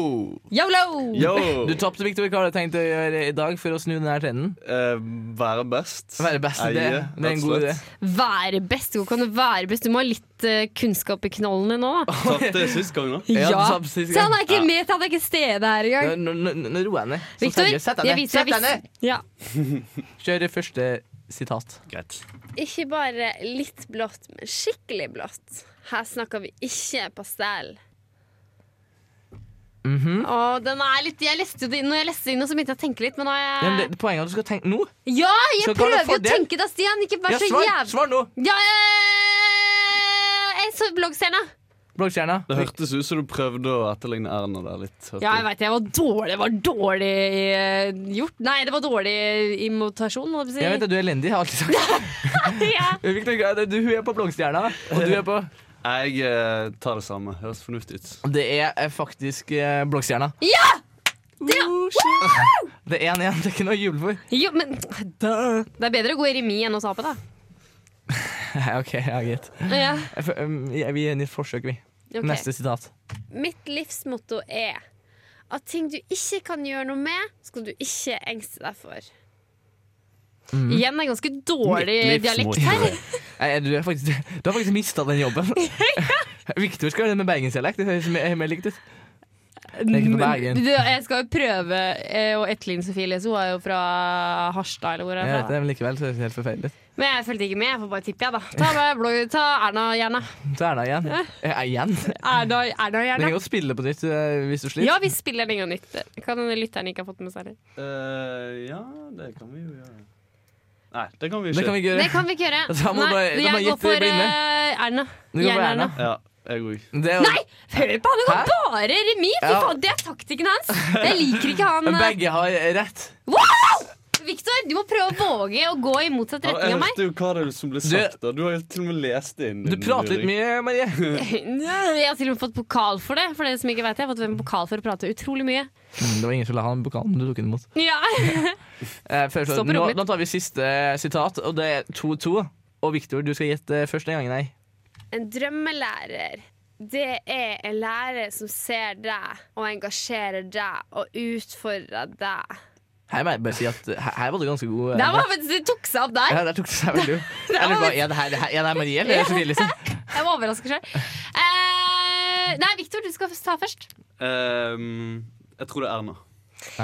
Speaker 2: Yolo!
Speaker 10: Yo!
Speaker 3: Du tapte, Victor. Hva har du tenkt å gjøre i dag for å snu denne trenden?
Speaker 10: Eh, være best.
Speaker 3: Være best i det.
Speaker 10: Eie,
Speaker 3: Det er en
Speaker 10: rett
Speaker 3: god
Speaker 10: og
Speaker 3: idé.
Speaker 10: slett.
Speaker 2: Være best. Hvor kan du være best? Du må ha litt eh, kunnskap i knollene nå, da.
Speaker 10: Tapte sist gang, da.
Speaker 3: Ja,
Speaker 2: Ja.
Speaker 3: du sa sist
Speaker 2: Se, han
Speaker 3: gang.
Speaker 2: er ikke med, han er ikke stede her engang.
Speaker 3: Nå- Nå nå- nå roer jeg ned. Så
Speaker 2: Victor,
Speaker 3: seriøst, sett deg
Speaker 2: jeg
Speaker 3: ned.
Speaker 2: viser
Speaker 3: Sett
Speaker 2: jeg
Speaker 3: deg ned!
Speaker 2: viser- Ja.
Speaker 3: Kjør første sitat.
Speaker 10: Greit.
Speaker 2: Ikke bare litt blått, men skikkelig blått. Her snakker vi ikke pastell.
Speaker 3: Mhm.
Speaker 2: Å, den er litt Jeg leste jo det inn, og jeg leste det inn, og så begynte jeg å tenke litt, men nå er
Speaker 3: Ja,
Speaker 2: jeg
Speaker 3: men det, poenget er at du skal tenke nå.
Speaker 2: Ja, jeg
Speaker 3: Så hva er det
Speaker 2: prøver jo å
Speaker 3: fordel?
Speaker 2: tenke da, Stian! Ikke vær
Speaker 3: Ja,
Speaker 2: så
Speaker 3: svar,
Speaker 2: jævlig
Speaker 3: svar nå!
Speaker 2: Ja, eh, jeg så bloggstjerna.
Speaker 3: Bloggstjerna.
Speaker 10: Det hørtes ut som du prøvde å etterligne Erna der litt. hørte
Speaker 2: Ja, jeg veit jeg var dårlig. Det var dårlig eh, gjort. Nei, det var dårlig imitasjon, holdt
Speaker 3: Jeg
Speaker 2: jeg
Speaker 3: vet
Speaker 2: på å si.
Speaker 3: at du er elendig. Jeg har alltid sagt det.
Speaker 2: Ja.
Speaker 3: Victor, hva er det. Du, hun er på Bloggstjerna, og du er på
Speaker 10: Jeg eh, tar det samme. Høres fornuftig ut.
Speaker 3: Det er eh, faktisk eh, Bloggstjerna.
Speaker 2: Ja!
Speaker 3: Oh, shit. Det er 1-1. Det er ikke noe å juble for.
Speaker 2: Jo, men Det er bedre å gå i remis enn å tape, da.
Speaker 3: OK, ja, greit.
Speaker 2: Ja,
Speaker 3: Jeg fø- um, jeg- Vi gir et forsøk, vi.
Speaker 2: ok.
Speaker 3: Neste sitat.
Speaker 2: Mitt livsmotto er at ting du ikke kan gjøre noe med, skal du ikke engste deg for. Igjen en ganske dårlig
Speaker 10: Mitt livsmotto.
Speaker 2: dialekt her.
Speaker 3: Nei, Du, er faktisk, du har faktisk mista den jobben. Victor skal gjøre det med bergensdialekt. Det høres mer, mer likt ut. Det er ikke noe Bergen.
Speaker 2: Du, jeg skal jo prøve eh, å etterligne Sofie Elise. Hun er jo fra Harstad, eller hvor hun
Speaker 3: Jeg
Speaker 2: er
Speaker 3: vet det,
Speaker 2: fra.
Speaker 3: men likevel så høres det helt forferdelig ut.
Speaker 2: Men jeg fulgte ikke med. Jeg får bare tippe, jeg, da. Ta, med blå- ta Erna, gjerne.
Speaker 3: Så Erna igjen. Eh, igjen.
Speaker 2: Erna, Erna,
Speaker 3: Du kan
Speaker 2: gjerne.
Speaker 3: godt spille på nytt eh, hvis du sliter.
Speaker 2: Ja, vi spiller den gang nytt. Kan hende lytteren ikke har fått med seg det.
Speaker 10: Eh, ja, det kan vi jo gjøre. Nei, det kan vi ikke.
Speaker 3: Det kan vi ikke gjøre.
Speaker 2: Det kan vi ikke gjøre.
Speaker 3: Da må du
Speaker 2: Nei,
Speaker 3: bare- da
Speaker 2: jeg
Speaker 3: må jeg
Speaker 2: går
Speaker 3: gjette
Speaker 2: for
Speaker 3: blinde.
Speaker 2: eh, Erna.
Speaker 3: Du går for
Speaker 2: Gjerne
Speaker 3: Erna.
Speaker 10: Ja, jeg òg.
Speaker 3: Det er jo-
Speaker 2: Nei! Hør på han, det
Speaker 3: Hæ?
Speaker 2: var bare remis! Fy
Speaker 3: Ja.
Speaker 2: faen, det er taktikken hans! Jeg liker ikke han
Speaker 3: Men
Speaker 2: eh,
Speaker 3: begge har rett.
Speaker 2: Victor, du må prøve å våge å gå i motsatt
Speaker 10: Jeg
Speaker 2: retning av meg.
Speaker 10: hørte jo hva det er som ble sagt. da. Du har jo til og med lest det inn.
Speaker 3: Du
Speaker 10: din
Speaker 3: prater litt
Speaker 10: luring.
Speaker 3: mye, Marie.
Speaker 2: Jeg har til og med fått pokal for det. For dere som ikke vet, Jeg har fått en pokal for å prate utrolig mye.
Speaker 3: Det var ingen som la han pokalen, men du tok den imot.
Speaker 2: Ja.
Speaker 3: Eh, først,
Speaker 2: Stå på
Speaker 3: nå,
Speaker 2: rommet.
Speaker 3: nå tar vi siste eh, sitat, og det er 2-2. Og Victor, du skal gjette først den gangen, nei.
Speaker 2: En drømmelærer, det er en lærer som ser deg og engasjerer deg og utfordrer deg.
Speaker 3: Her må jeg bare si at eh, her her var du ganske god. eh,
Speaker 2: Der var faktisk, det tok seg opp der.
Speaker 3: ja, der tok det seg veldig opp. Jeg lurer på, Er det her, det her, er det her Marie eller Sofie liksom? Elise?
Speaker 2: Jeg var overraska sjøl. Eh, nei, Victor, du skal ta først.
Speaker 10: Ehm, jeg tror det er Erna.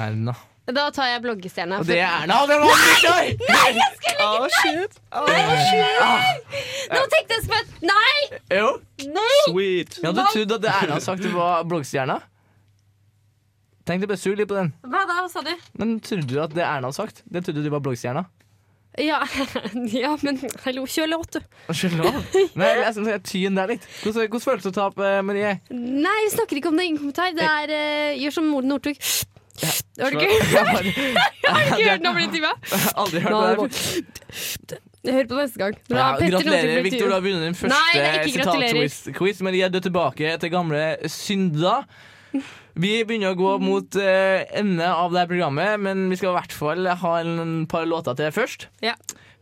Speaker 3: Erna.
Speaker 2: Da tar jeg bloggestjerne.
Speaker 3: Og det er Erna! og Det var Victor!
Speaker 10: Ah, shit!
Speaker 2: Nå tenkte jeg spent! Nei!
Speaker 3: Jo.
Speaker 2: Nei!
Speaker 10: Sweet.
Speaker 3: Jeg hadde trodd at det Erna hadde sagt det var bloggstjerna. Tenk deg bare sur litt på den.
Speaker 2: Hva da, sa du?
Speaker 3: Men trodde du at det Erna hadde sagt, det trodde du var bloggstjerna?
Speaker 2: Ja, ja men hallo, kjør låt, du.
Speaker 3: Unnskyld? Nei, jeg synes jeg tyen der litt. Hvordan, hvordan føles det å tape, eh, Marie?
Speaker 2: Nei, vi snakker ikke om det. Ingen kommentar. Det er eh, Gjør som Morden Northug. Har du ikke
Speaker 3: Jeg har
Speaker 2: har du ikke hørt den bli intervjua?
Speaker 3: aldri hørt
Speaker 2: Nå er det
Speaker 3: det der.
Speaker 2: Hør på neste gang. Når
Speaker 3: Ja,
Speaker 2: Petter Northug
Speaker 3: gratulerer,
Speaker 2: blir
Speaker 3: Victor. Du
Speaker 2: intervjuet.
Speaker 3: har vunnet din
Speaker 2: Nei, det er
Speaker 3: første
Speaker 2: ikke gratulerer.
Speaker 3: sitatquiz. Marie, du er tilbake til gamle synder. Vi begynner å gå mot eh, enden av det her programmet, men vi skal i hvert fall ha en par låter til først.
Speaker 2: Ja.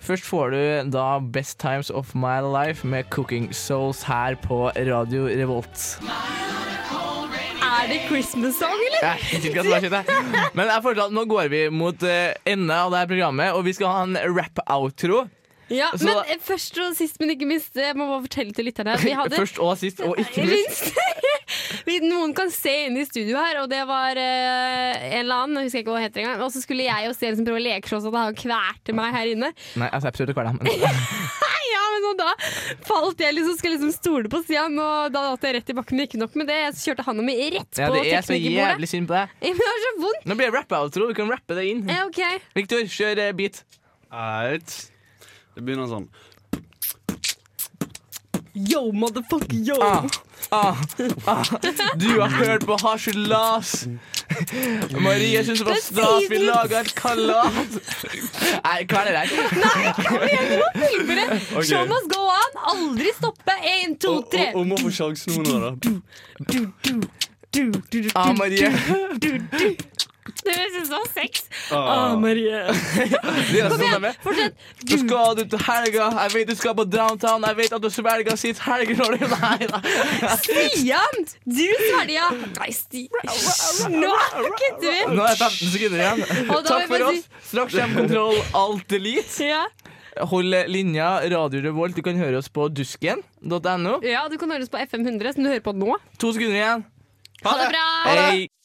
Speaker 3: Først får du da Best Times of My Life med Cooking Souls her på Radio Revolt.
Speaker 2: Er det Christmas song, eller?
Speaker 3: Jeg vet ikke hva som har skjedd her. Men jeg foreslår at nå går vi mot eh, enden av det her programmet, og vi skal ha en rap-outro.
Speaker 2: Ja,
Speaker 3: Så-
Speaker 2: men eh, først og sist, men ikke minst, eh, jeg må bare fortelle til lytterne at vi hadde
Speaker 3: Først og sist, og ikke minst.
Speaker 2: minst. Vi- Noen kan se inn i studio her, og det var eh, en eller annen, jeg husker ikke hva hun heter engang. Og så skulle jeg og Stensen prøve å leke sånn at han kvalte meg her inne.
Speaker 3: Nei, altså, jeg prøvde å kvele ham.
Speaker 2: Ja, men og da falt jeg liksom, skulle liksom stole på Stian, og da datt jeg rett i bakken. Men Ikke nok med det, jeg kjørte han og meg rett på
Speaker 3: Ja, det er så
Speaker 2: teknikerbordet.
Speaker 3: jævlig synd på deg.
Speaker 2: Ja, men Det var så vondt.
Speaker 3: Nå blir det rap-outro. Du kan rappe det inn.
Speaker 2: Ja, ok.
Speaker 3: Victor, kjør eh, beat.
Speaker 10: Eit. Det begynner sånn.
Speaker 2: Yo, motherfucker, yo.
Speaker 3: Ah, ah, ah. Du har hørt på harselas. Marie jeg syns det var
Speaker 2: Det er
Speaker 3: stas. Vi
Speaker 2: tidlig.
Speaker 3: laga et kalas. Nei, hva er det der?
Speaker 10: Ok.
Speaker 2: Show must go on. Aldri stoppe. Én, to,
Speaker 10: Og,
Speaker 2: tre.
Speaker 10: og, og må få sjansen nå, da.
Speaker 3: Ah, Marie.
Speaker 2: Det synes jeg var sex.
Speaker 10: Ah.
Speaker 2: Marie.
Speaker 3: Det er sånn de er.
Speaker 2: Fortsett.
Speaker 3: Så skal du til helga, jeg vet du skal på downtown, jeg vet at du svelger sitt helgelår Nei da.
Speaker 2: Stian! Du svelga. Nei, Stian. Nå kutter vi.
Speaker 3: Nå er det 15 sekunder igjen.
Speaker 2: Og da vil jeg
Speaker 3: Takk for
Speaker 2: bare
Speaker 3: oss. Straks kommer kontroll alt elite.
Speaker 2: Ja.
Speaker 3: Hold linja, Radio Revolt. Du kan høre oss på dusken.no.
Speaker 2: ja, du kan høre oss på FM100, som du hører på nå.
Speaker 3: To sekunder igjen.
Speaker 2: Ha det bra!
Speaker 3: Hei.